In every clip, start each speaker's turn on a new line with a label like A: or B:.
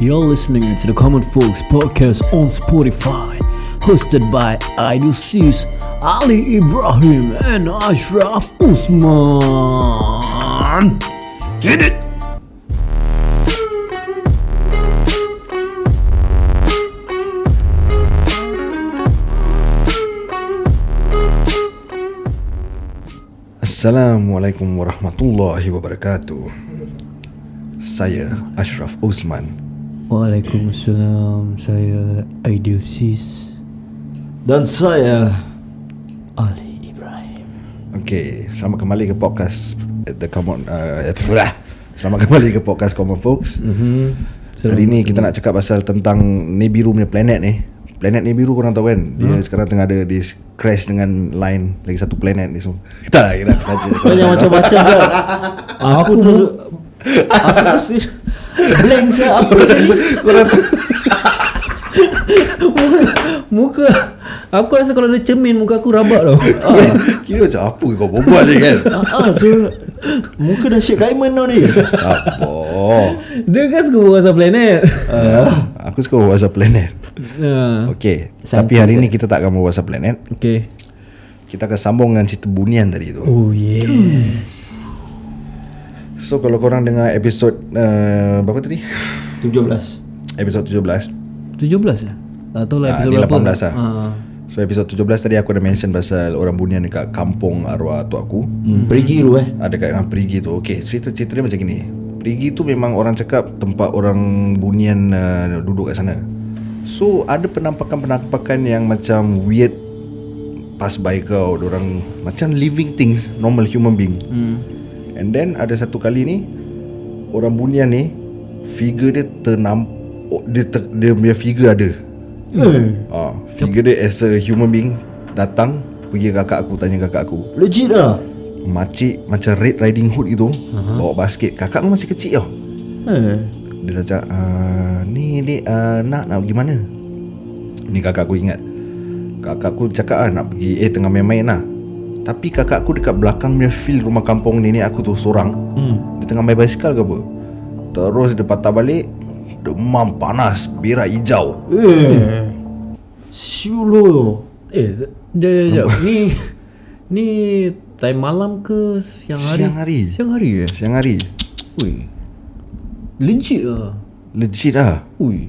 A: You're listening to the Common Folks podcast on Spotify, hosted by Idol Sis, Ali Ibrahim, and Ashraf Usman. Hit it!
B: Assalamualaikum warahmatullahi wabarakatuh Saya Ashraf Osman
A: Waalaikumsalam, saya Idol Sis.
C: Dan saya
A: Ali Ibrahim.
B: Okay, selamat kembali ke podcast eh, The Common uh, eh, Selamat kembali ke podcast Common Folks
C: Mhm.
B: mm-hmm. Hari ni kita nak cakap pasal tentang Nibiru punya planet ni Planet Nibiru korang tahu kan
C: Hmm.
B: Dia sekarang tengah ada di crash dengan line Lagi satu planet ni semua Kita lah, kita saja
C: Kau jangan macam-macam Zat Aku tu Aku mesti Blank saya Apa tadi
B: Korang tu
A: Muka aku rasa kalau ada cermin muka aku rabak tau.
B: Kira macam apa kau berbual ni kan
C: Ah, so Muka dah shape diamond tau ni
B: Sabar
A: Dia kan suka berasa planet.
B: Uh, Aku suka berbual pasal planet
A: Ha.
B: Okay, tapi hari ni kita tak akan berbual pasal planet
A: Okay.
B: Kita akan sambung dengan cerita bunian tadi tu
A: Oh yeah.
B: So kalau korang dengar episod uh, Berapa tadi?
C: 17
B: Episod 17
A: 17 ya? eh? Tak tahu lah
B: Ah,
A: episod
B: ni
A: berapa. Ah.
B: 18 lah.
A: Ha.
B: So episod 17 tadi aku ada mention pasal Orang bunian dekat kampung arwah tu aku
C: Perikiru eh
B: Ada kat dengan perigi tu Okay cerita cerita dia macam gini Perigi tu memang orang cakap Tempat orang bunian uh, duduk kat sana So ada penampakan-penampakan yang macam weird Pass by kau orang Macam living things Normal human being
A: Hmm.
B: And then ada satu kali ni Orang bunian ni Figure dia ternam oh, dia, ter, dia punya figure ada
C: Eh.
B: ha, Figure dia as a human being Datang Pergi ke kakak aku Tanya kakak aku
C: Legit lah
B: Makcik macam Red Riding Hood gitu uh-huh. Bawa basket Kakak aku masih kecil tau
C: Eh,
B: Dia dah cakap "Ah, Ni dek ah, nak nak pergi mana Ni kakak aku ingat Kakak aku cakap ah, nak pergi Eh tengah main-main lah Tapi kakak aku dekat belakang punya field rumah kampung nenek aku tu seorang hmm. Dia tengah main basikal ke apa Terus dia patah balik Demam panas Berak hijau
C: Eh Siulo
A: Eh, se- jap jap jap. ni ni time malam ke siang hari?
B: Siang hari.
A: Siang hari eh.
B: Siang hari
A: Ui. Legit ah.
B: Legit lah
A: Ui.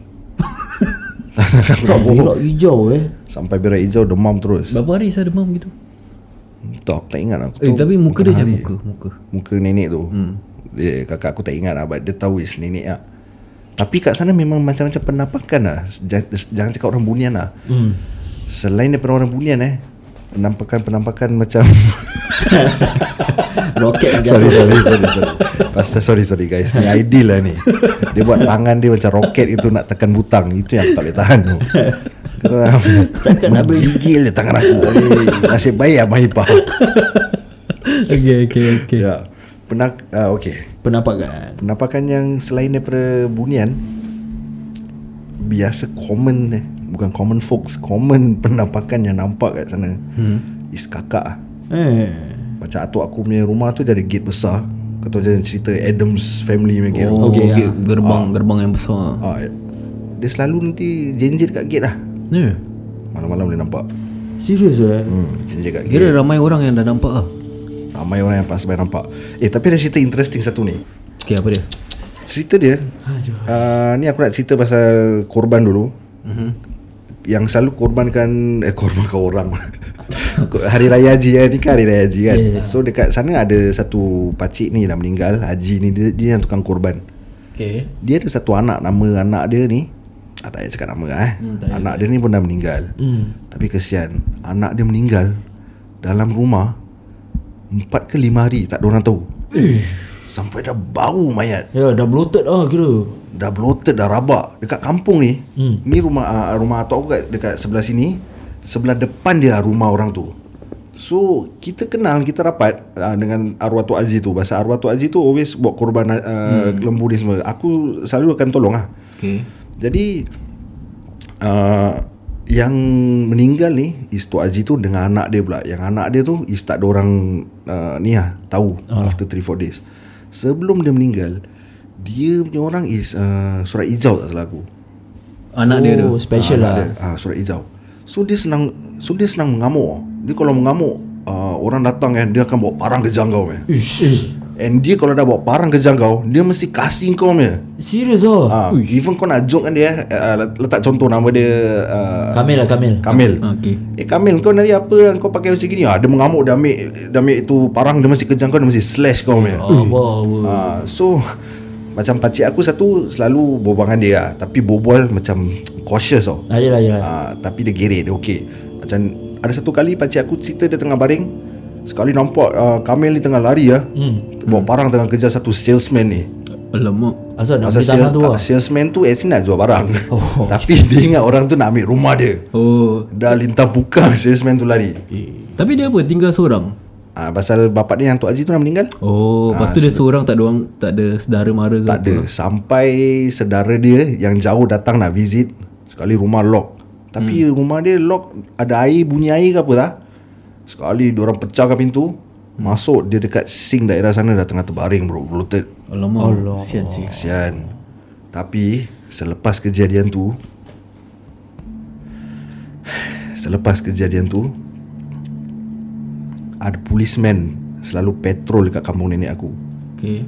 C: Tak berak hijau eh
B: Sampai berak hijau demam terus
A: Berapa hari saya demam gitu?
B: Tak aku tak ingat aku
A: Eh,
B: tu
A: tapi muka
B: bukan
A: dia macam
B: Oh, hari.
A: muka, muka.
B: Muka nenek tu hmm. dia, Kakak aku tak ingat lah But dia tahu is nenek lah Tapi kat sana memang macam-macam penampakan lah Jangan, jangan cakap orang bunian lah hmm. Selain daripada orang bunian eh Penampakan-penampakan macam
C: Roket yang
B: sorry,
C: jatuh
B: sorry sorry sorry Pasal sorry sorry guys Ni ideal lah ni Dia buat tangan dia macam roket itu Nak tekan butang Itu yang aku tak boleh tahan tu Kerana Menggigil je tangan aku Nasib baik lah Mahipah
A: Okey okey okey.
B: Ya Pernah uh, Okay
C: Penampakan
B: Penampakan yang selain daripada bunian Biasa common eh Bukan common folks Common penampakan yang nampak kat sana hmm. Is kakak lah
C: Eh
B: Macam atuk aku punya rumah tu Dia ada gate besar Kau tahu macam cerita Adams family punya gate
A: Oh,
C: Okey,
A: okay,
C: ah.
A: gerbang gerbang yang besar.
B: ha, Dia selalu nanti Jenjit kat gate lah
A: Ya. Yeah.
B: Malam-malam boleh nampak
C: Serius eh
B: hmm, Jenjit kat gate
A: Kira ramai orang yang dah nampak ah.
B: Ramai orang yang pas by nampak Eh tapi ada cerita interesting satu ni
A: Okey, apa dia?
B: Cerita dia uh, Ni aku nak cerita pasal korban dulu mm-hmm. Yang selalu korbankan Eh korbankan orang Hari Raya Haji kan Ni kan Hari Raya Haji kan yeah. So dekat sana ada satu pakcik ni dah meninggal Haji ni dia, dia yang tukang korban
A: Okey.
B: Dia ada satu anak Nama anak dia ni ah, Tak payah cakap nama eh Anak dia ni pun dah meninggal mm. Tapi kesian Anak dia meninggal Dalam rumah Empat ke lima hari Tak ada orang tahu
C: Eh.
B: Sampai dah bau mayat
C: Ya dah bloated lah kira
B: dah bloated dah rabak dekat kampung ni hmm. ni rumah uh, rumah atuk aku kat dekat sebelah sini sebelah depan dia rumah orang tu so kita kenal kita rapat uh, dengan arwah tok Aziz tu pasal arwah tok Aziz tu always buat korban uh, hmm. lembu ni semua aku selalu akan tolong lah
A: Okey.
B: jadi uh, yang meninggal ni is Tok Haji tu dengan anak dia pula. Yang anak dia tu is tak ada orang uh, ni lah tahu uh. after 3 4 days. Sebelum dia meninggal, Dia punya orang is uh, Surat Ijau tak salah aku
A: Anak dia tu
C: Oh special lah
B: dia, ah, Surat Ijau So dia senang So dia senang mengamuk Dia kalau mengamuk uh, Orang datang kan Dia akan bawa parang kejang kau man.
C: Ish.
B: And dia kalau dah bawa parang kejang kau Dia mesti kasih kau punya
C: Serius oh
B: Ah, even kau nak joke kan dia uh, Letak contoh nama dia uh,
C: Kamil lah Kamil
B: Kamil
A: Okay
B: Eh Kamil kau nanti apa Kau pakai macam gini ah, Dia mengamuk Dia ambil Dia ambil tu parang Dia mesti kejang kau Dia mesti slash kau punya
C: Oh wow
B: Ah, so macam pakcik aku satu selalu berbual dengan dia lah. Tapi berbual macam cautious tau.
C: Ah, yelah yelah
B: Ah, tapi dia gerik, dia okey. Macam ada satu kali pakcik aku cerita dia tengah baring. Sekali nampak uh, Kamil ni tengah lari ah. Hmm. Bawa parang tengah kejar satu salesman ni.
A: Alamak
C: Asal nak
B: Pasal
C: beli tanah
B: sales,
C: tu
B: tu
C: lah
B: salesman tu actually nak jual barang. Oh. tapi dia ingat orang tu nak ambil rumah dia.
A: Oh
B: Dah lintang buka salesman tu lari.
A: Tapi dia apa tinggal seorang
B: Ah, pasal bapak dia yang Tok Haji tu dah meninggal.
A: Oh Lepas tu dia seorang tak ada orang Tak ada sedara mara ke
B: Ah, Tak ada Sampai sedara dia Yang jauh datang nak visit Sekali rumah lock Tapi hmm. rumah dia lock Ada air Bunyi air ke apa lah Sekali orang pecahkan pintu Masuk dia dekat sink daerah sana Dah tengah terbaring bro Bloated
A: Alamak Sian sih
B: Kesian Tapi Selepas kejadian tu Selepas kejadian tu Ada policeman Selalu patrol dekat kampung nenek aku
A: Okay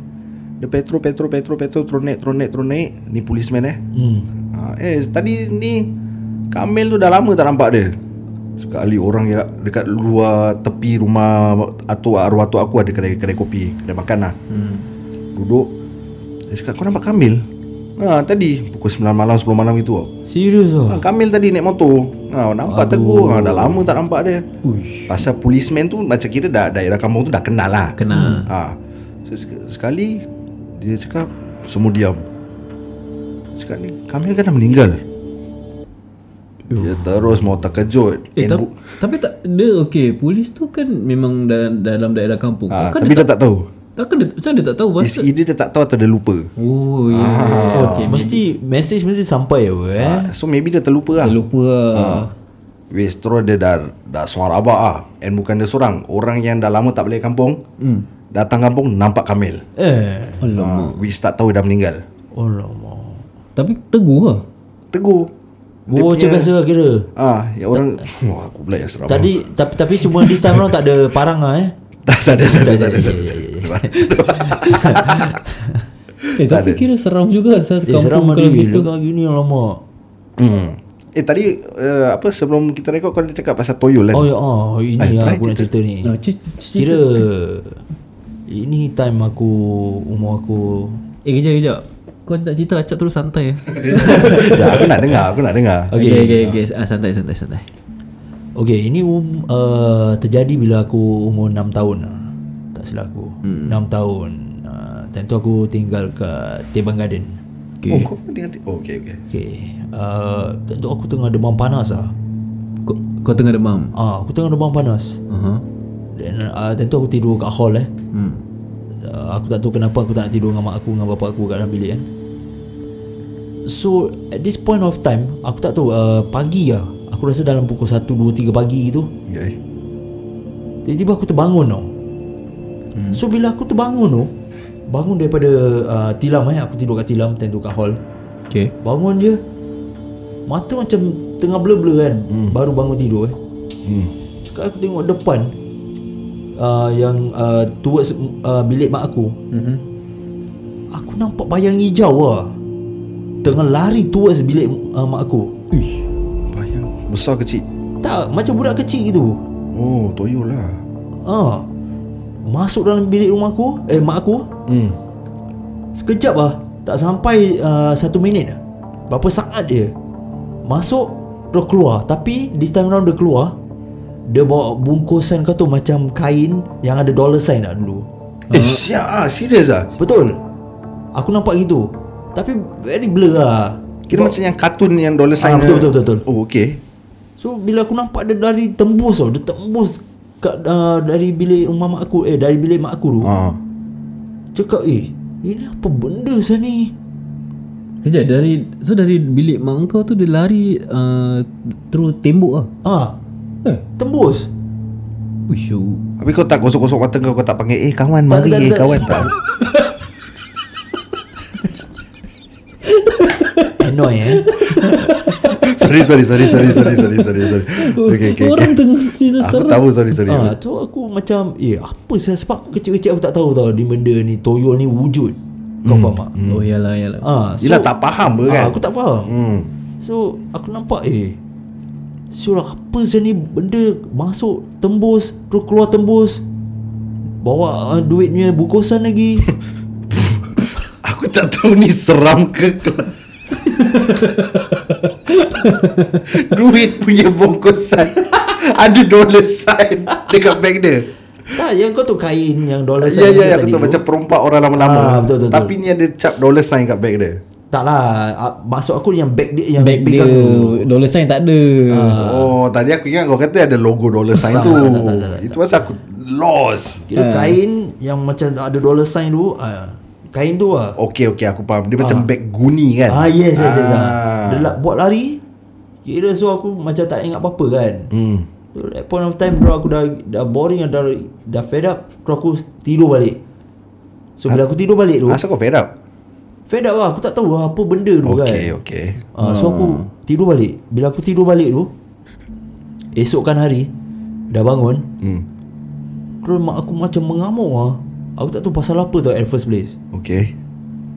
B: dia petrol petrol petrol petrol tronek tronek tronek ni policeman eh. Hmm. Ha, eh tadi ni Kamil tu dah lama tak nampak dia. Sekali orang ya dekat luar tepi rumah atuk arwah atuk aku ada kedai kedai kopi, kedai makan lah. Hmm. Duduk. Dia cakap kau nampak Kamil? Ha tadi pukul 9 malam 10 malam gitu tau.
C: Serius oh
B: Ha, Kamil tadi naik motor. Ha nampak tegur. Ha dah lama tak nampak dia.
A: Uish
B: Pasal policeman tu macam kira dah daerah kampung tu dah kenal lah.
A: Kena
B: Ha. So, sek- sekali dia cakap semua diam. Cakap ni Kamil kan dah meninggal. Dia terus mau terkejut.
A: Eh,
B: And
A: tapi,
B: bu-
A: tapi tak dia okey polis tu kan memang da- dalam daerah kampung
B: ha,
A: takkan
B: tapi dia tak tahu.
A: takkan dia macam dia tak tahu pasal
B: Is either dia tak tahu atau dia lupa.
A: oh ya yeah.
C: Okay, mesti message mesti sampai apa eh.
B: Ha, so maybe dia terlupa lah.
A: Dah lupa lah
B: Weh, terus dia dah, dah suara abak ah. And bukan dia seorang. Orang yang dah lama tak balik kampung, mm. datang kampung nampak Kamil.
C: Eh,
A: Alamak
B: Ha, we start tahu dia dah meninggal.
C: alamak.
A: Tapi teguh lah
B: Tegur.
C: Oh, macam biasa lah kira.
B: Ah, ya orang Wah, aku pula yang seram.
C: Tadi tapi tapi cuma this time round tak ada parang lah eh.
B: tak tak ada tak ada tak ada. tak ada.
A: Eh tapi kira seram juga Asal
C: Eh, seram
A: kampung kalau
C: mati.
A: gitu
C: Kalau gini alamak.
B: Hmm. Eh tadi uh, apa sebelum kita rekod kau ada cakap pasal toyol kan?
C: Oh ya, oh ini
B: Eh,
C: lah
B: try
C: aku nak cerita ni.
A: Nah, c- c-
C: Kira ini time aku umur aku
A: Eh kejap kejap Kau tak cerita Acap terus santai
B: ya, aku nak dengar, aku nak dengar.
A: Okay okay, okay, okay. Ah, Santai santai santai
C: Okay, ini um, uh, terjadi bila aku umur 6 tahun lah. Tak salah aku. Hmm. 6 tahun. Uh, time tu aku tinggal kat Teban Garden.
B: Okay. Oh, kau tengah oh, okay, okay.
C: Okay. Uh, time tu aku tengah demam panas lah.
A: Kau, kau tengah demam
C: Ah, aku tengah demam panas.
A: uh-huh.
C: Dan uh, time tu aku tidur kat hall eh.
A: hmm.
C: uh, aku tak tahu kenapa aku tak nak tidur dengan mak aku dengan bapak aku kat dalam bilik kan so at this point of time aku tak tahu uh, pagi lah aku rasa dalam pukul 1 2 3 pagi gitu
B: Okay.
C: tiba-tiba aku terbangun tau hmm. so bila aku terbangun tu bangun daripada uh, tilam eh aku tidur kat tilam tidur kat hall
A: Okay
C: bangun je mata macam tengah blur-blur kan hmm. baru bangun tidur eh
B: Hmm.
C: Sekarang aku tengok depan uh, Yang uh, towards uh, bilik mak aku mm-hmm. Aku nampak bayang hijau lah Tengah lari towards bilik uh, mak aku
A: Uish.
B: Bayang besar kecil.
C: Tak, macam budak kecil gitu
B: Oh, toyol lah.
C: ha. Masuk dalam bilik rumah aku Eh, mak aku
B: Hmm.
C: Sekejap lah Tak sampai uh, satu minit lah Berapa saat dia Masuk Dia keluar Tapi this time round dia keluar Dia bawa bungkusan kau tu Macam kain Yang ada dollar sign lah dulu
B: Eh, siap ah, serius ah.
C: Betul Aku nampak gitu Tapi very blur lah
B: Kira macam yang kartun yang dollar sign.
C: Ah, betul, betul, betul, betul.
B: Oh, okay.
C: So bila aku nampak dia dari tembus tau Dia tembus kat, uh, Dari bilik rumah mak aku Eh dari bilik mak aku tu ha.
B: Ah.
C: Cakap eh Ini apa benda sah ni
A: Kejap dari So dari bilik mak kau tu Dia lari uh, Terus tembok lah
C: Ah,
A: Eh
C: Tembus
A: Uish oh.
B: Tapi kau eh, tak gosok-gosok mata kau kau tak panggil eh kawan mari
C: tak,
B: eh
C: tak.
B: kawan tak.
C: Annoy eh
B: sorry sorry sorry sorry sorry sorry sorry sorry. Okay okay.
A: Orang
B: okay.
A: tengah cerita
B: Aku
A: seram.
B: tahu sorry sorry.
C: ah, Tu aku macam Eh apa saya sebab kecil-kecil aku tak tahu tau Ni benda ni toyol ni wujud Kau faham tak
A: Oh yalah yalah.
C: ah,
B: Hmm.
C: so,
B: Yelah tak faham ke
C: ah,
B: kan?
C: Aku tak faham
B: Hmm.
C: So aku nampak eh Syurah apa je ni benda masuk tembus terus keluar tembus Bawa uh, duitnya bungkusan lagi
B: Aku tak tahu ni seram ke kelam. Duit punya bungkusan Ada dollar sign Dekat beg dia
C: Tak yang kau tu kain yang dollar
B: Ya ya
C: sign
B: ya
C: tadi
B: aku tahu
C: tu.
B: macam perompak orang lama-lama
C: Ah, betul, betul,
B: Tapi ni ada cap dollar sign kat beg dia
C: Tak lah ah, Maksud aku yang bag dia Yang
A: Back
C: big
A: dia ah.
C: aku.
A: Dollar sign tak ada
C: Ah.
B: Oh tadi aku ingat kau kata ada logo dollar sign tu Itu pasal aku lost
C: Kira kain Yang macam ada dollar sign tu ah, Kain tu lah
B: Okay okay aku faham Dia macam beg guni kan
C: Ah yes yes, yes.
B: Ah.
C: Ah. Dia la- buat lari Kira so aku macam tak ingat apa-apa kan
B: Hmm.
C: So at point of time bro aku dah dah boring dah dah fed up so aku tidur balik. So
B: Ah.
C: bila aku tidur balik tu
B: Asal kau fed up
C: fed up lah aku tak tahu lah apa benda tu
B: Okay Hmm.
C: kan.
B: okay
C: Ah, so aku tidur balik. Bila aku tidur balik tu esokkan hari dah bangun
B: hmm.
C: terus mak aku macam mengamuk ah. Aku tak tahu pasal apa tau at first place.
B: Okay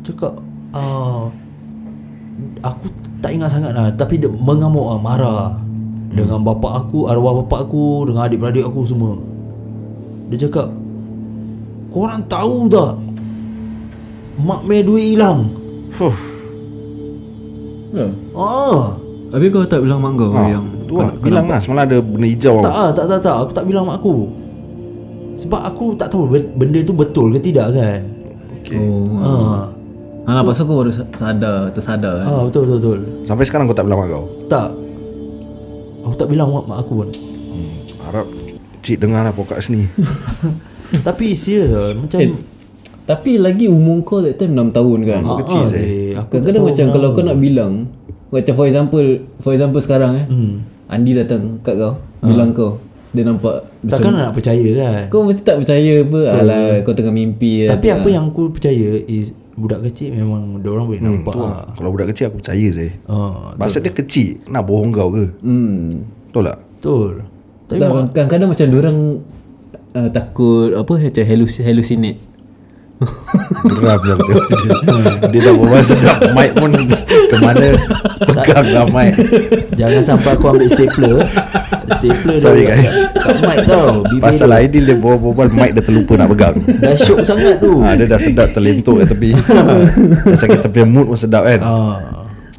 C: Cakap ah, Aku tak ingat sangat lah Tapi dia mengamuk lah Marah lah Dengan bapa aku Arwah bapa aku Dengan adik-beradik aku semua Dia cakap Korang tahu tak Mak punya duit hilang
B: Fuh
A: yeah.
C: Ah,
A: Ya. Habis kau tak bilang mak kau yang
B: Tu lah Bilang lah semalam ada benda hijau
C: tak, ah, tak tak tak Aku tak bilang mak aku Sebab aku tak tahu ben- Benda tu betul ke tidak kan
B: Okay.
A: Oh
C: Ah,
A: Alah pasal kau baru sa- sadar Tersadar kan
C: ah betul betul betul
B: Sampai sekarang kau tak bilang mak kau
C: Tak Aku tak bilang mak, mak aku pun
B: hmm, Harap Cik dengar lah podcast ni
C: Tapi serius lah Macam
A: eh, Tapi lagi umur kau that time 6 tahun kan
C: Ah,
B: kecil
C: ah,
B: je.
C: eh, aku tak
A: Kadang-kadang
C: tahu
A: macam
C: kenapa.
A: kalau kau nak bilang Macam for example For example sekarang eh Andi datang kat kau Bilang kau Dia nampak
C: Takkan nak percaya kan
A: Kau mesti tak percaya apa Alah kau tengah mimpi ya.
C: Tapi apa yang aku percaya Is budak kecil memang Diorang boleh nampak
B: Betul lah. Kalau budak kecil aku percaya saya
C: Ah,
B: Maksud dia kecil Nak bohong kau ke
A: Hmm
B: Betul tak
C: Betul Tapi
A: Tak, kadang-kadang macam orang uh, takut apa macam halus hallucinate.
B: Geram lah betul dia, dia dah berbual sedap Mic pun Kemana Pegang lah mic
C: Jangan sampai aku ambil stapler Stapler
B: Sorry,
C: dah
B: guys.
C: kat- Kat mic tau Bibir
B: Pasal
C: dia
B: Aidil dia berbual-bual Mic dia terlupa nak pegang
C: Dah syok sangat tu
B: ha, Dia dah sedap terlentuk kat tepi Dah sakit tepi mood pun sedap kan
C: Ah.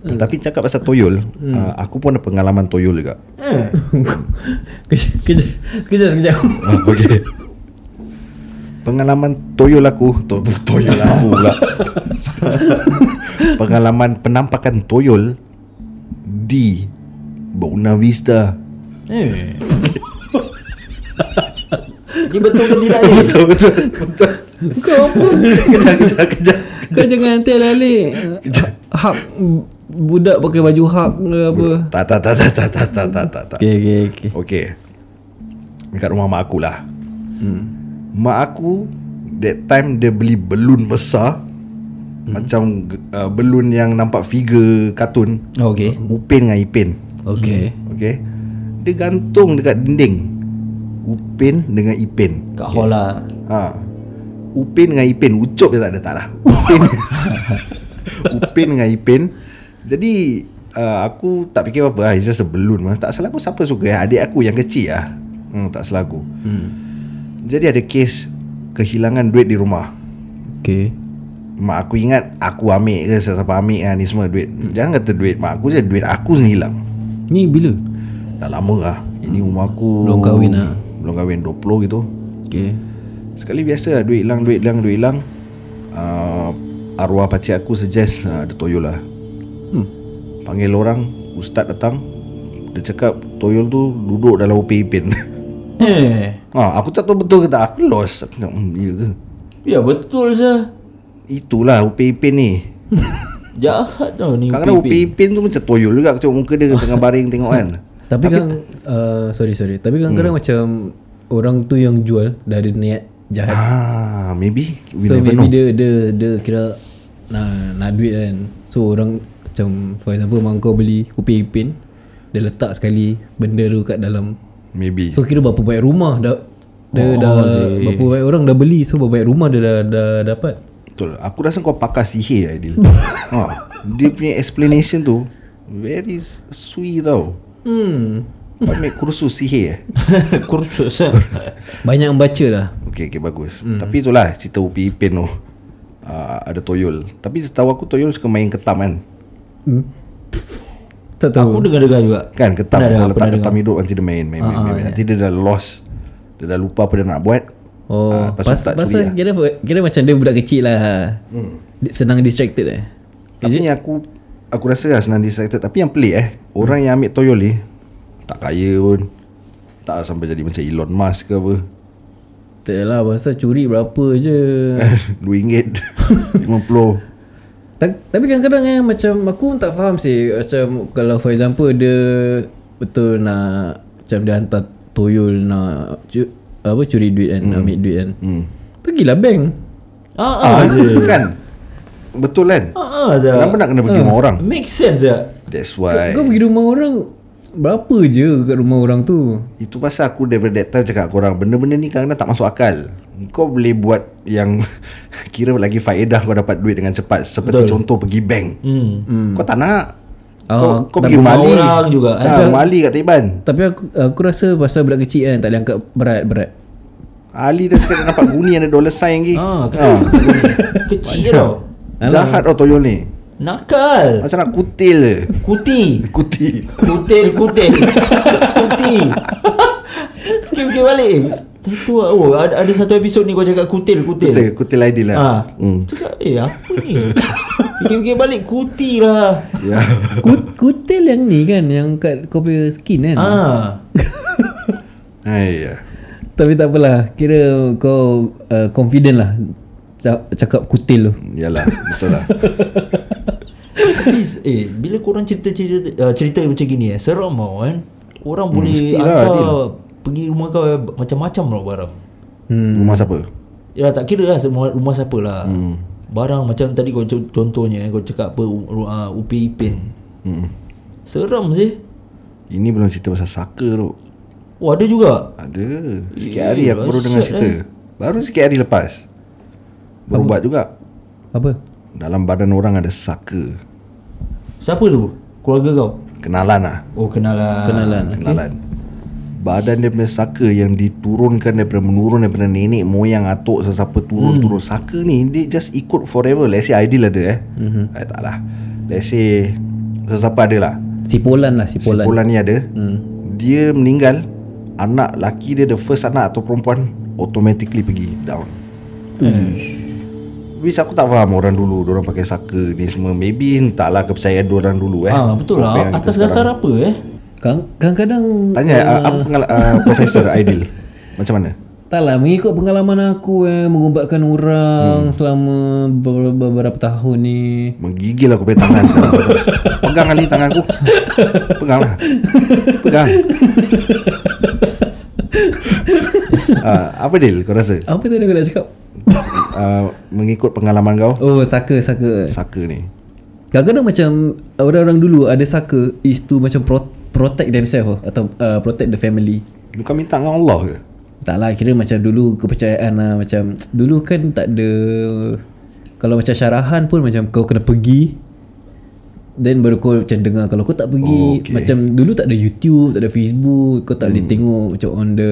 C: Hmm.
B: Tapi cakap pasal toyol ah, Aku pun ada pengalaman toyol juga
C: Eh,
A: kejap, kejap, kejap, kejap.
B: Ah, okay. Pengalaman toyol aku to, Toyol aku pula Pengalaman penampakan toyol Di Buena Vista
C: eh. Ni betul ke tidak ni?
B: Betul betul betul
A: Kau apa?
B: Kejap kejap kejap
A: Kau jangan nanti lalik. Hak budak pakai baju hak ke apa.
B: Tak tak tak tak tak tak tak tak tak tak
A: Okey okey okey.
B: Okay Dekat rumah mak aku lah Mak aku That time dia beli belun besar Macam uh, belun yang nampak figure kartun
C: Okey.
B: Upin dengan Ipin
A: Oh, Okey.
B: Okay Dia gantung dekat dinding Upin dengan Ipin
C: Kat hall lah.
B: ha. Upin dengan Ipin Ucup je tak ada tak lah Upin Upin dengan Ipin Jadi uh, Aku tak fikir apa-apa lah It's just a balloon lah. Tak salah aku siapa suka lah. Adik aku yang kecil lah hmm, Tak salah aku hmm. Jadi ada kes Kehilangan duit di rumah
A: Okey.
B: Mak aku ingat Aku ambil ke Siapa ambil lah ni semua duit hmm. Jangan kata duit Mak aku je Duit aku sendiri hilang
A: Ni bila?
B: Dah lama lah Ini umur aku
A: Belum kahwin lah.
B: Belum kahwin 20 gitu
A: Okey.
B: Sekali biasa lah Duit hilang, duit hilang, duit hilang uh, Arwah pakcik aku suggest uh, Ada toyol lah hmm. Panggil orang Ustaz datang Dia cakap Toyol tu duduk dalam upi ipin
C: Eh.
B: ha, Aku tak tahu betul ke tak Aku lost Aku nak hmm, ya ke
C: Ya betul je.
B: Itulah upi ipin ni
C: Jahat tau ni.
B: Kadang-kadang upi ipin tu macam toyol juga Aku tengok muka dia tengah baring tengok kan
A: Tapi kan Hmm. uh, sorry sorry. Tapi kadang-kadang macam orang tu yang jual dari niat jahat.
B: Ah, maybe We
A: so
B: never
A: maybe
B: know
A: dia dia dia kira nak, nak duit kan So orang macam For example mak kau beli kopi ipin Dia letak sekali Benda tu kat dalam
B: Maybe
A: So kira berapa banyak rumah dah dia oh, dah berapa banyak orang dah beli so berapa banyak rumah dia dah, dah dapat.
B: Betul Aku rasa kau pakar sihir Aidil ha, Dia punya explanation tu Very s- sui tau
A: Hmm.
B: Kau ambil kursus sihir eh?
C: Kursus eh?
A: Banyak yang baca lah.
B: Okay, okay bagus hmm. Tapi itulah cerita Upi Ipin tu uh, Ada toyol Tapi setahu aku toyol suka main ketam kan
A: Tak
C: Aku
A: tahu.
C: dengar-dengar juga
B: Kan ketam
C: Pernah dengar, Ah, ya.
B: Pernah letak
C: pernah
B: ketam hidup Nanti dia main, main, main, main, main. Nanti dia dah lost Dia dah lupa apa dia nak buat
A: Oh,
B: Ah, lepas tu
A: pas,
B: tak curi
A: pasal
B: lah.
A: kira, kira macam dia budak kecil lah. Hmm. Senang distracted eh.
B: Tapi yang aku Aku rasa lah senang distracted Tapi yang pelik eh Orang yang ambil toyol ni Tak kaya pun Tak sampai jadi macam Elon Musk ke apa
A: Tak lah pasal curi berapa je.
B: RM2 RM50
A: Ta- tapi kadang-kadang eh, macam aku pun tak faham sih macam kalau for example dia betul nak macam dia hantar toyol nak cu- apa curi duit kan, nak ambil duit kan. Hmm. Pergilah bank.
C: Ah, ah,
B: Ah, kan Betul kan
C: ah, ah, Zah.
B: Kenapa nak kena pergi rumah orang
C: Make sense ya.
B: That's why
A: Kau pergi rumah orang berapa je kat rumah orang tu?
B: Itu pasal aku daripada that time cakap korang Benda-benda ni kadang-kadang tak masuk akal Kau boleh buat yang Kira lagi faedah kau dapat duit dengan cepat Seperti Betul. contoh pergi bank hmm. Kau tak nak
A: Ah,
B: Kau, kau
A: dan
B: pergi
C: rumah
B: mali
C: orang juga, eh.
B: ha, Mali kat Taiban
A: Tapi aku aku rasa pasal budak kecil kan tak boleh angkat berat-berat.
B: Ali dah cakap dia nampak guni ada dollar sign lagi
C: Ah,
B: Ah.
C: kan. Kecil je tau.
B: Jahat tau toyol ni
C: Nakal.
B: Macam nak kutil je
C: Kuti.
B: Kutil
C: Kutil, kutil. Kuti. Fikir-fikir balik. eh. Tentu lah. Oh, ada, ada satu episod ni kau cakap kutil, kutil.
B: Kutil, kutil Aidil lah
C: Ah.
B: hmm.
C: Cakap, eh apa ni? Fikir-fikir balik, kuti lah.
B: Ya
A: Kut, kutil yang ni kan yang kat kau punya skin kan.
C: Ah.
B: Ayah
A: Tapi tak apalah. Kira kau uh, confident lah ca- cakap kutil tu.
B: Yalah Betul lah
C: Tapi eh bila korang cerita-cerita uh, cerita macam gini eh seram tau kan. Orang hmm, boleh
B: mestilah,
C: hantar
B: Adil.
C: pergi rumah kau eh, macam-macam tau barang.
B: hmm. Rumah siapa
C: Ya tak kira lah semua rumah siapa lah. Hmm. Barang macam tadi kau co- contohnya eh, kau cakap apa u- uh, upi ipin.
B: hmm.
C: Seram sih.
B: Ini belum cerita pasal saka tu
C: Oh ada juga.
B: Ada Sikit
C: Eh,
B: hari aku baru dengar
C: rasat
B: cerita
C: eh.
B: Baru sikit hari lepas Baru buat juga
A: Apa?
B: Dalam badan orang ada saka
C: Siapa tu? Keluarga kau.
B: Kenalan lah
C: Oh kenalan.
A: Kenalan.
B: Kenalan Badan dia punya saka yang diturunkan daripada menurun daripada nenek moyang atuk sesiapa
C: Hmm.
B: turun-turun saka ni dia just ikut forever let's say Aidil ada eh
C: Mhm.
B: mm-hmm. eh tak lah let's say sesiapa ada lah
A: Sipolan lah sipolan.
B: Polan ni ada
C: Hmm.
B: Dia meninggal Anak laki dia The first anak atau perempuan Automatically pergi down Eh. Which aku tak faham orang dulu orang pakai saka ni semua Maybe entahlah kepercayaan orang dulu eh
C: Ah betul
B: Apa
C: lah.
B: yang kita
C: Atas
B: sekarang-
C: dasar apa eh?
A: Kadang- Kadang-kadang
B: Tanya uh, apa pengal- uh, Profesor Aidil Macam mana?
A: tak lah mengikut pengalaman aku eh mengubatkan orang selama ber- beberapa tahun ni.
B: Menggigil aku pakai tangan sekarang Terus. Pegang kali tangan aku Pegang lah Pegang uh, Apa Dil kau rasa?
A: Apa tadi aku nak cakap?
B: Uh, mengikut pengalaman kau
A: Oh, saka saka.
B: Saka ni
A: Kadang-kadang macam orang-orang dulu ada saka is to macam pro- protect themselves lah, atau uh, protect the family.
B: Lu Kau minta dengan Allah ke?
A: Tak lah kira macam dulu kepercayaan lah macam dulu kan tak ada kalau macam syarahan pun macam kau kena pergi then baru kau macam dengar kalau kau tak
B: Oh,
A: pergi
B: okay. Hmm.
A: okay. macam dulu tak ada YouTube, tak ada Facebook, kau tak boleh tengok macam on the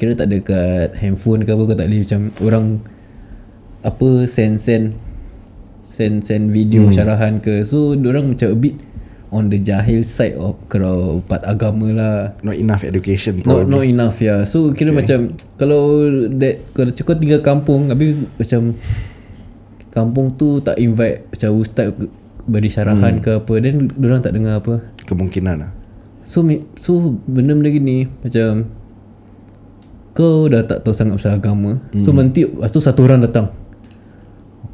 A: kira tak ada kat handphone ke apa kau tak boleh macam orang apa send send send send video hmm. syarahan ke so orang macam a bit on the jahil side of kalau part agama lah
B: Not enough education
A: Not,
B: probably
A: not enough ya. Yeah. So kira okay. macam kalau that kalau kau tinggal kampung habis macam kampung tu tak invite macam ustaz beri syarahan hmm. ke apa then orang tak dengar apa.
B: Kemungkinan lah
A: So mi- so benda-benda gini macam kau dah tak tahu sangat pasal agama. Hmm. So nanti lepas tu satu orang datang.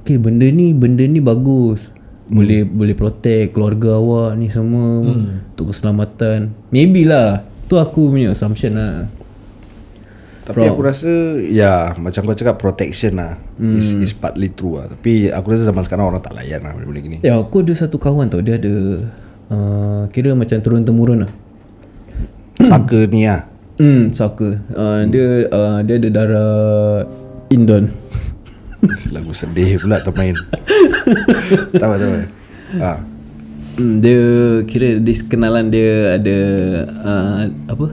A: Okay benda ni benda ni bagus. Boleh boleh protect keluarga awak ni semua hmm. untuk keselamatan. Maybe lah. Tu aku punya assumption lah.
B: Tapi Tapi aku rasa Ya Macam kau cakap Protection lah mm. is, is partly true lah Tapi aku rasa zaman sekarang Orang tak layan lah Benda-benda gini
A: Ya aku ada satu kawan tau Dia ada uh, Kira macam turun temurun lah
B: Saka ni lah
A: Hmm saka uh, Dia uh, Dia ada darah Indon
B: Lagu sedih pula termain Tak apa tak apa ha.
A: hmm, Dia Kira di kenalan dia Ada uh, Apa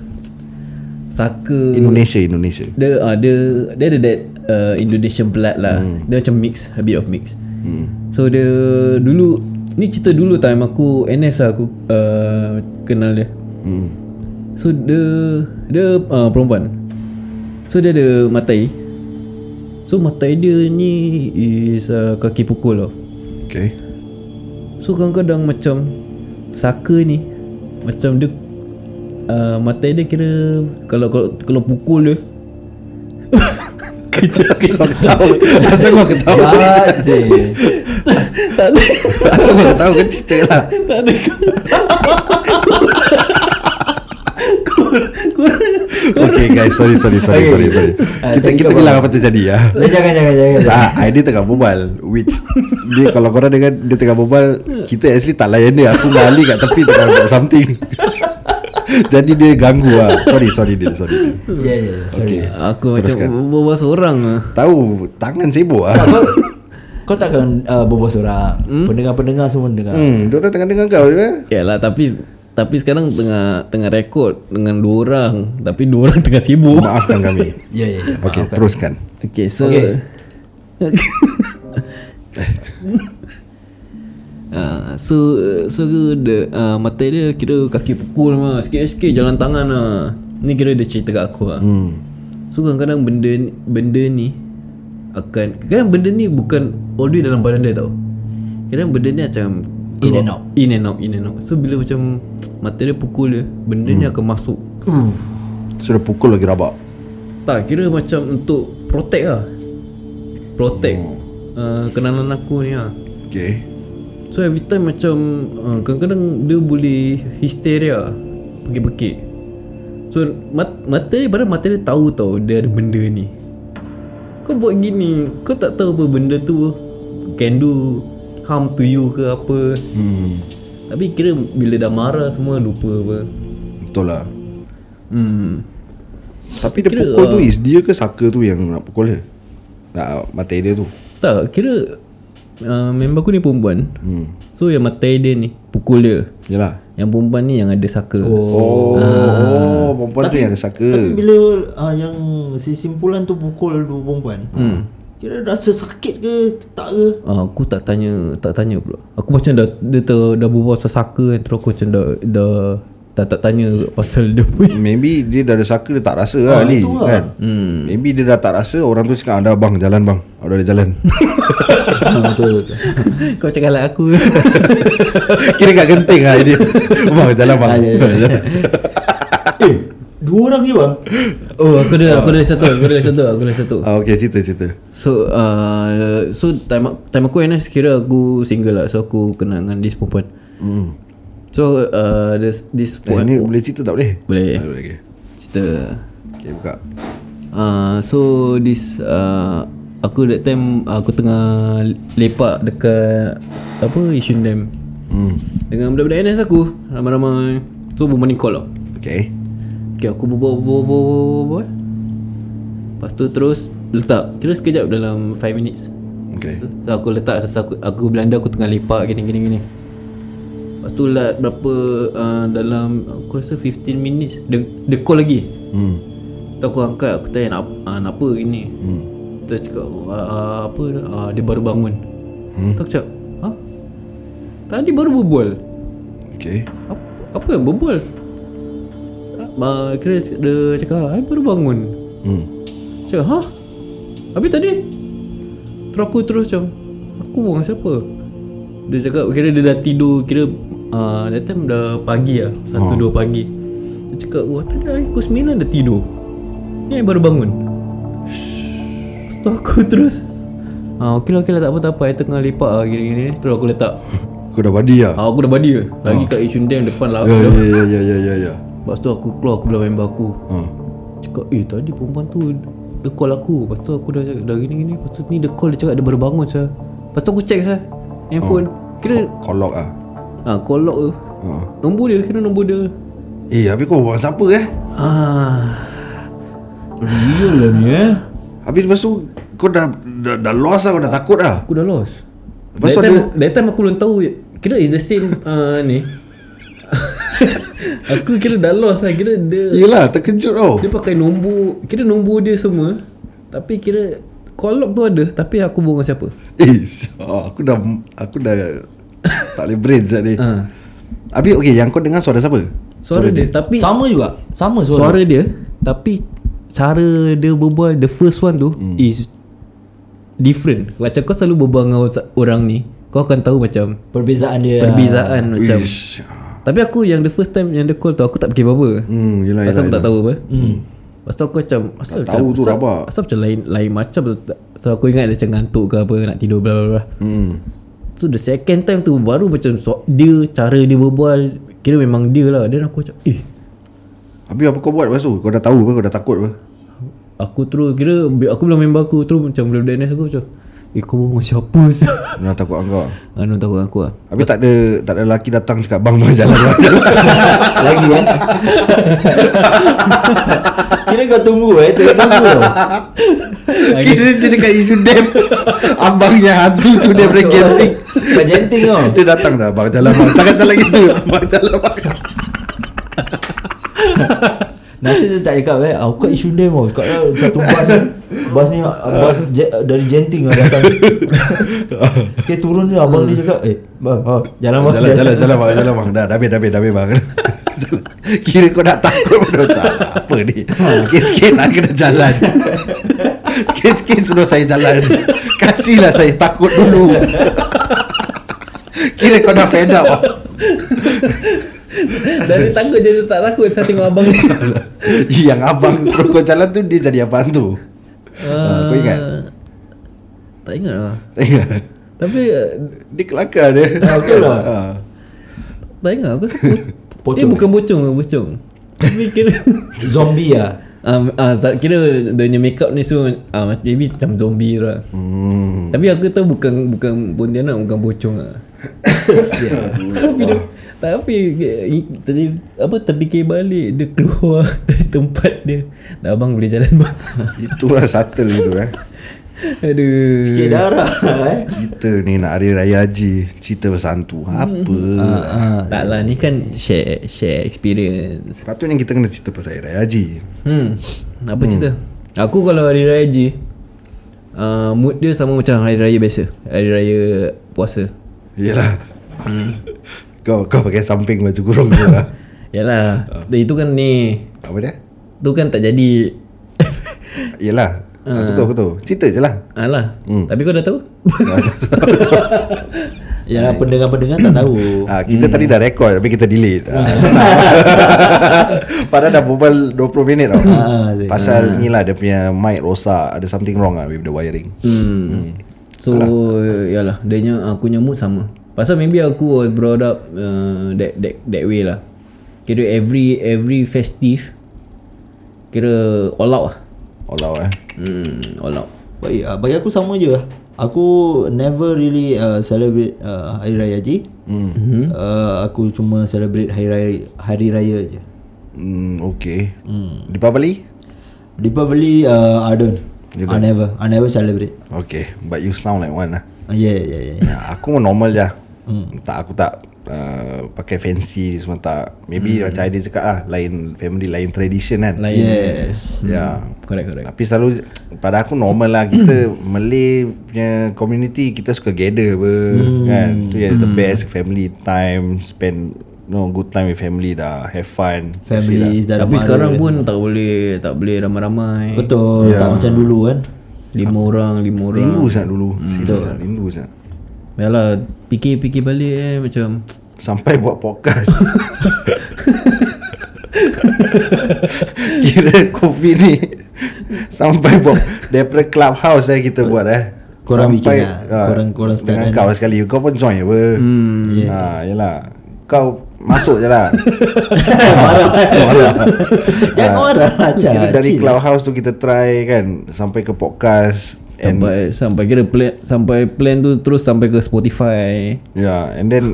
A: Saka
B: Indonesia Indonesia
A: dia uh, dia dia ada that uh, Indonesian blood lah. Dia macam mix, a bit of mix. Hmm. So dia dulu ni cerita dulu time aku NS lah aku uh, kenal dia. Hmm. So dia dia uh, perempuan. So dia ada matai. So matai dia ni is uh, kaki pukul tau.
B: Okay
A: So kadang-kadang macam Saka ni Macam dia uh, Mata dia kira Kalau kalau, kalau pukul dia Kejap
B: Kau ketawa Asal kau ketawa
C: Jahat je
A: Tak ada
B: Asal kau ketawa kan cerita lah
A: Tak ada Korang Korang
B: Okay guys sorry sorry sorry sorry,
C: Okay.
B: sorry.
C: Ah,
B: Kita,
C: tadi
B: kita
C: kau
B: bilang apa terjadi ya
C: Eh, Jangan jangan jangan
B: Ah, Aidil tengah berbual Which dia, Kalau korang dengar Dia tengah berbual Kita actually tak layan dia Aku ngali kat tepi Tengah buat something Jadi dia ganggu lah Sorry sorry dia Sorry dia
C: Ya ya ya, Sorry
B: Okay
A: Aku
B: Teruskan.
A: macam Berbual seorang lah
B: Tahu Tangan sibuk lah
C: Kau- Kau takkan uh, berbual seorang Pendengar-pendengar semua dengar
B: Hmm, dia orang tengah dengar kau je.
A: Yalah Ya lah, tapi Tapi sekarang tengah Tengah rekod Dengan dua orang Tapi dua orang tengah sibuk
B: Maafkan kami.
C: Ya ya ya
B: Okey, teruskan.
A: Okay, so
C: Okay.
A: Ah, so so the uh, mata dia kira kaki pukul mah sikit-sikit jalan tangan lah. Ni kira dia cerita kat aku lah. Hmm. So kadang-kadang benda ni- benda ni akan kadang benda ni bukan all the way dalam badan dia tau. Kadang benda ni macam
C: In and out.
A: in and out in and out. So bila macam mata dia pukul dia, benda
C: Hmm.
A: ni akan masuk.
B: Sudah pukul lagi rabak.
A: Tak kira macam untuk protect lah Protect
C: Oh.
A: uh, Kenalan aku ni lah
B: Okey.
A: So every time macam uh, Kadang-kadang dia boleh Hysteria Pekik-pekik So mat- mata dia Padahal mata dia tahu tau Dia ada benda ni Kau buat gini Kau tak tahu apa benda tu Can do Harm to you ke apa hmm. Tapi kira bila dah marah semua Lupa apa
B: Betul lah.
A: Hmm
B: Tapi dia pukul tu is dia ke saka tu yang nak pukul dia? Nak mati dia tu.
A: Tak kira uh, Member aku ni perempuan hmm. So yang matai dia ni Pukul dia
B: Yalah.
A: Yang perempuan ni yang ada saka oh.
B: Oh, oh perempuan tu yang ada saka.
C: Tapi bila uh, yang si simpulan tu pukul dua perempuan hmm. Kira rasa sakit ke tak ke
A: uh, Aku tak tanya Tak tanya pula Aku macam dah Dia ter, dah berbual pasal saka kan Terus aku macam dah Dah Dah tak tanya pasal dia punya
B: Maybe dia dah ada saka dia tak rasa lah Ali
C: lah.
B: kan. Maybe dia dah tak rasa orang tu cakap ada bang jalan bang. Ada ada jalan.
C: Betul betul
A: Kau cakap lah aku
B: Kira kat genting lah dia. Bang jalan bang.
C: Eh dua orang je bang
A: Oh aku ada Aku ada satu Aku ada satu Aku ada satu
B: Ah, okay cerita cerita.
A: So uh, So time, time aku NS Kira aku single lah So aku kenal dengan this perempuan mm. So uh, This, this
B: Hmm. Eh,
A: perempuan
B: ni boleh cerita tak boleh?
A: Boleh. eh?
B: Ah, boleh okay.
A: Cerita
B: okay buka.
A: Uh, so this uh, aku that time aku tengah lepak dekat apa Yishun Dam. Hmm. Dengan budak-budak NS aku ramai-ramai. So perempuan ni call lah.
B: Okay.
A: Okay aku berbual berbual berbual berbual, berbual. eh. Lepas tu terus letak Kira sekejap dalam 5 minutes
B: Okay.
A: So, so aku letak asas aku, aku Belanda aku tengah lepak gini gini gini Lepas tu lah berapa uh, dalam aku rasa 15 minutes dia, dia call lagi
B: Hmm.
A: Tu aku angkat aku tanya nak, uh, nak apa gini hmm. Tu cakap uh, apa uh, dia baru bangun hmm. Tu aku cakap ha? Tadi baru berbual
B: Okay.
A: apa, apa yang berbual? Uh, kira dia cakap I baru bangun
B: Hmm.
A: Cakap ha? Habis tadi? Terus aku terus macam Aku buang siapa? Dia cakap kira dia dah tidur Kira uh, that time dah pagi lah Satu dua pagi Dia cakap wah tadi aku sembilan dah tidur Ni I baru bangun Lepas tu aku terus Ah, okey lah, okey lah, tak apa, tak apa. I tengah lepak lah, gini-gini. Terus aku letak.
B: Kau dah badi lah.
A: Ah, aku dah badi lah. Lagi kat Yishun Dam depan lah.
B: Ya ya ya ya ya ya ya.
A: Lepas tu aku keluar, aku bilang member aku.
B: Ha.
A: Cakap eh tadi perempuan tu Dia call aku Lepas tu aku dah cakap Dah gini gini Lepas tu ni dia call Dia cakap dia baru bangun sah Lepas tu aku check sah Handphone Kira
B: Kolok ah.
A: ha, Call log tu
B: Ha.
A: Nombor dia Kira nombor dia
B: Eh habis kau buang siapa eh?
A: Ah,
C: Real lah ni eh
B: Habis lepas tu kau dah dah, dah lost lah kau dah takut lah.
A: Aku dah lost
B: Lepas tu
A: that, time,
B: ada-
A: that time aku belum tahu Kira is the same uh, Ni Aku kira dah lost lah Kira dia
B: Yelah terkejut tau.
A: Dia pakai nombor Kira nombor dia semua Tapi kira Call log tu ada Tapi aku buang dengan siapa
B: Eh syah, aku dah aku dah tak boleh brain sejak ni.
A: ha.
B: Habis okay yang kau dengar suara siapa?
A: Suara, dia, Tapi
C: Sama juga Sama suara,
A: Suara dia Tapi Cara dia berbual The first one tu hmm. Is Different Macam kau selalu berbual dengan orang- orang ni Kau akan tahu macam
C: Perbezaan
B: Ah.
C: dia
A: Perbezaan macam
B: Ish.
A: Tapi aku yang the first time Yang dia call tu Aku tak fikir apa-apa
B: Hmm, yelah, yelah,
A: Pasal aku
B: yelah.
A: tak tahu apa hmm. Lepas tu aku macam asal
B: Tak tahu
A: macam,
B: tu
A: asal-
B: rabak.
A: Asal macam lain lain macam tu tak- So aku ingat dia macam ngantuk ke apa Nak tidur bla bla bla
B: Hmm.
A: So the second time tu Baru macam so, Dia Cara dia berbual Kira memang dia lah Dan aku macam Eh
B: Habis apa kau buat lepas tu? Kau dah tahu apa? Kau dah takut apa?
A: Aku terus Kira bi- aku bilang member aku Terus macam Budak-budak NS aku macam Eh kau berbual dengan siapa sah
B: Nak takut kau.
A: Anu takut aku lah
B: Habis tak ada tak ada lelaki datang cakap bang bang jalan. bang, jalan."
C: Lagi eh Kira kau tunggu eh Tengah tunggu tau
B: Kira dia dekat isu dem. Abang yang hantu tu dia break genting.
C: Kau genting tau
B: Dia datang dah bang jalan bang. Takkan jalan gitu. Bang jalan bang.
C: Nasib dia tak cakap eh Aku kat isu demo Sekarang satu bas ni Bas ni Bas je, dari Genting lah datang Dia turun je Abang ni cakap Eh bang, ah, Jalan bang
B: Jalan jalan jalan bang jalan bang. Dah dah habis dah habis dah habis bang. Kira kau nak takut kau dah salah. Apa ni? Sikit-sikit nak kena jalan. Sikit-sikit suruh saya jalan. Kasihlah saya takut dulu. Kira kau dah fed up ah.
A: Dari takut jadi tak takut Saya tengok abang ni
B: Yang abang suruh kau jalan tu Dia jadi apa tu Ah, Kau ingat?
A: Tak ingat lah
B: Tak ingat?
A: Tapi eh,
B: Dia kelakar dia
C: Ah, betul lah.
B: Ah.
A: Tak ingat lah, aku rasa bo-
C: Pocong
A: Eh bukan bocong Bocong Tapi kira
C: Zombie lah
A: um, uh, Kira Dia punya makeup ni semua uh, Maybe macam zombie lah hmm. Tapi aku tahu bukan Bukan Pontianak Bukan bocong lah Tapi dia Tapi i- tadi, Apa terfikir balik Dia keluar Dari tempat dia Dah abang boleh jalan bang
B: Itulah subtle itu eh
A: Aduh
C: Sikit darah eh
B: Kita ni nak hari raya haji Cerita pasal hantu Apa Hmm.
A: Tak lah ni kan Share Share experience
B: Patutnya kita kena cerita pasal hari raya haji
A: Hmm. Apa hmm. cerita? Aku kalau hari raya je uh, mood dia sama macam hari raya biasa. Hari raya puasa.
B: Yelah Hmm. Kau kau pakai samping baju kurung tu lah
A: Yalah, uh. itu kan ni.
B: Apa dia?
A: Tu kan tak jadi.
B: Yelah Aku tahu aku tahu Cerita je lah
A: Alah. Hmm. Tapi kau dah tahu?
C: Yang pendengar-pendengar tak tahu
B: Ah, kita hmm. tadi dah record Tapi kita delete ah, senang. Padahal dah berbual 20 minit tau
C: Ah, Zain.
B: Pasal ni lah Dia punya mic rosak Ada something wrong lah With the wiring
A: hmm. So yalah, dia nya aku nya mood sama. Pasal maybe aku was brought up uh, that that that way lah. Kira every every festive kira all out lah.
B: All out eh
A: Hmm, all out.
C: Baik, ah, bagi aku sama je lah. Aku never really uh, celebrate uh, Hari Raya Haji.
A: Mhm.
C: Mm. Uh, aku cuma celebrate Hari Raya, Hari Raya je.
B: Hmm, okay hmm. Deepavali?
C: Deepavali, uh, I don't.
B: You
C: I never. I never celebrate.
B: Okay But you sound like one lah
C: Uh, yeah, yeah, yeah.
B: ya, Aku pun normal je hmm. Tak aku tak uh, Pakai fancy ni semua tak Maybe macam Aidil cakap lah Lain family Lain tradition kan
A: Lain.
C: Yes.
B: Ya yeah.
A: Correct correct.
B: Tapi selalu Pada aku normal lah Kita Malay punya community Kita suka gather apa Kan Tu yang the best Family time Spend No good time with family dah Have fun
C: Family is
A: Tapi sekarang pun tak boleh tak boleh ramai-ramai.
C: Betul, yeah. tak macam dulu kan.
A: Lima orang, lima orang.
B: Rindu sangat dulu Serius sangat Rindu sangat
A: Yalah, fikir-fikir balik eh macam
B: Sampai buat podcast Kira COVID ni Sampai buat Daripada clubhouse eh kita buat eh
C: Korang
B: Sampai,
C: bikin
B: Ah,
C: lah. Korang- korang start
B: Dengan
C: kan?
B: kau sekali Kau pun join apa
C: Yeah.
B: ha, Yelah Ah, kau masuk je lah
C: Marah
B: Marah. Ah,
C: Jangan marah
B: Kira
C: Cik
B: dari clubhouse tu kita try kan Sampai ke podcast And
A: Sampai sampai kira plan sampai plan tu terus sampai ke Spotify.
B: Yeah Ya, and then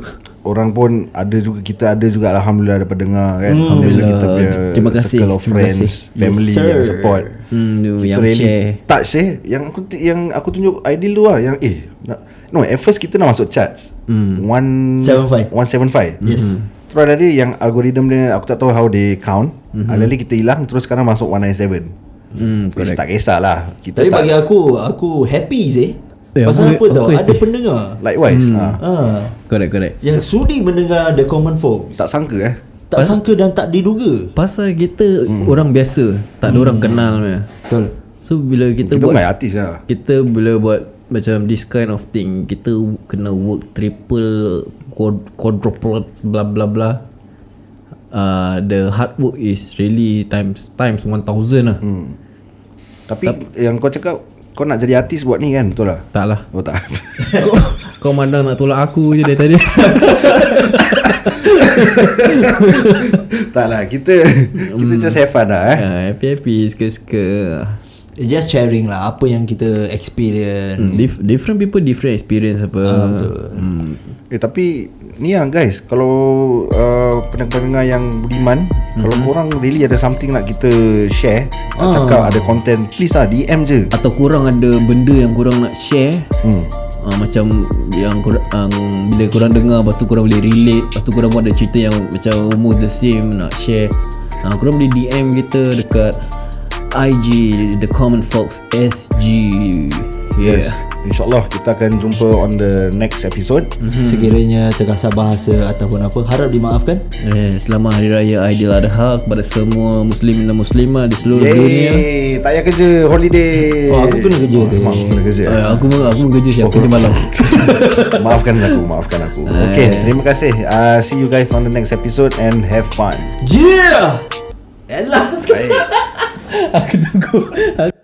B: Orang pun ada juga Kita ada juga Alhamdulillah dapat dengar kan Alhamdulillah kita punya
A: Hmm. Terima kasih.
B: Circle of
A: Terima
B: friends
A: kasih.
B: Family
C: Yes, sir.
B: yang support
A: Hmm, tu
B: Kita
A: yang
B: really
A: share.
B: touch eh Yang aku ti- yang aku tunjuk ideal tu lah Yang eh nak, No at first kita nak masuk charts
A: Hmm.
B: mm.
C: 75.
B: 175
C: Yes.
B: Terus ada yang algorithm dia Aku tak tahu how they count mm-hmm. Alali kita hilang Terus sekarang masuk 197
A: Hmm,
B: Which tak kisahlah Kita
C: Tapi
B: tak
C: bagi aku Aku happy sih
A: Eh,
C: Pasal
A: aku-
C: apa tau
A: aku
C: Ada
A: happy.
C: pendengar
B: Likewise
A: Hmm.
B: ha.
C: ha,
A: correct correct.
C: Yang sudi mendengar The Common Folk
B: Tak sangka eh
C: Tak sangka dan tak diduga
A: Pasal kita orang biasa, tak ada orang kenal punya.
C: Betul
A: So bila Hmm. kita,
B: Kita
A: buat
B: bukan artis lah
A: kita bila buat macam this kind of thing, kita kena work triple quad- quadruple bla bla bla. Uh, the hard work is really times times 1000 lah. Hmm.
B: Tapi yang kau cakap Kau nak jadi artis buat ni kan Betul lah
A: Tak lah.
B: Oh tak
A: Kau, kau mandang nak tolak aku je dari tadi.
B: Tak lah Kita
C: Hmm.
B: Kita just have fun lah eh
C: Kan.
A: Ah, happy-happy, suka-suka.
C: Just sharing lah Apa yang kita experience
A: Hmm, Dif- different people different experience apa. Hmm.
B: Eh tapi Ni lah guys Kalau uh, Pendengar-pendengar yang budiman Kalau
C: Hmm.
B: korang really ada something Nak kita share Nak
C: Ah.
B: cakap ada content Please lah DM je
A: Atau kurang ada benda yang kurang nak share.
B: Hmm
A: Uh, macam yang korang, um, bila korang dengar lepas tu korang boleh relate lepas tu korang pun ada cerita yang macam almost the same nak share uh, korang boleh DM kita dekat IG The Common Fox SG yeah
B: Yes InsyaAllah kita akan jumpa On the next episode
C: Hmm. Sekiranya terkasar bahasa Ataupun apa Harap dimaafkan
A: Eh, selamat Hari Raya Aidiladha kepada semua Muslim dan Muslimah di seluruh dunia.
B: Yeay Tak payah kerja Holiday
C: lah. Oh, aku kena kerja Ah. tu.
B: Mak, aku kena kerja
A: Eh, aku pun aku pun kerja siap kerja malam.
B: Maafkan aku Maafkan aku Okay terima kasih uh, See you guys on the next episode And have fun
C: Yeah At last
A: aku tunggu.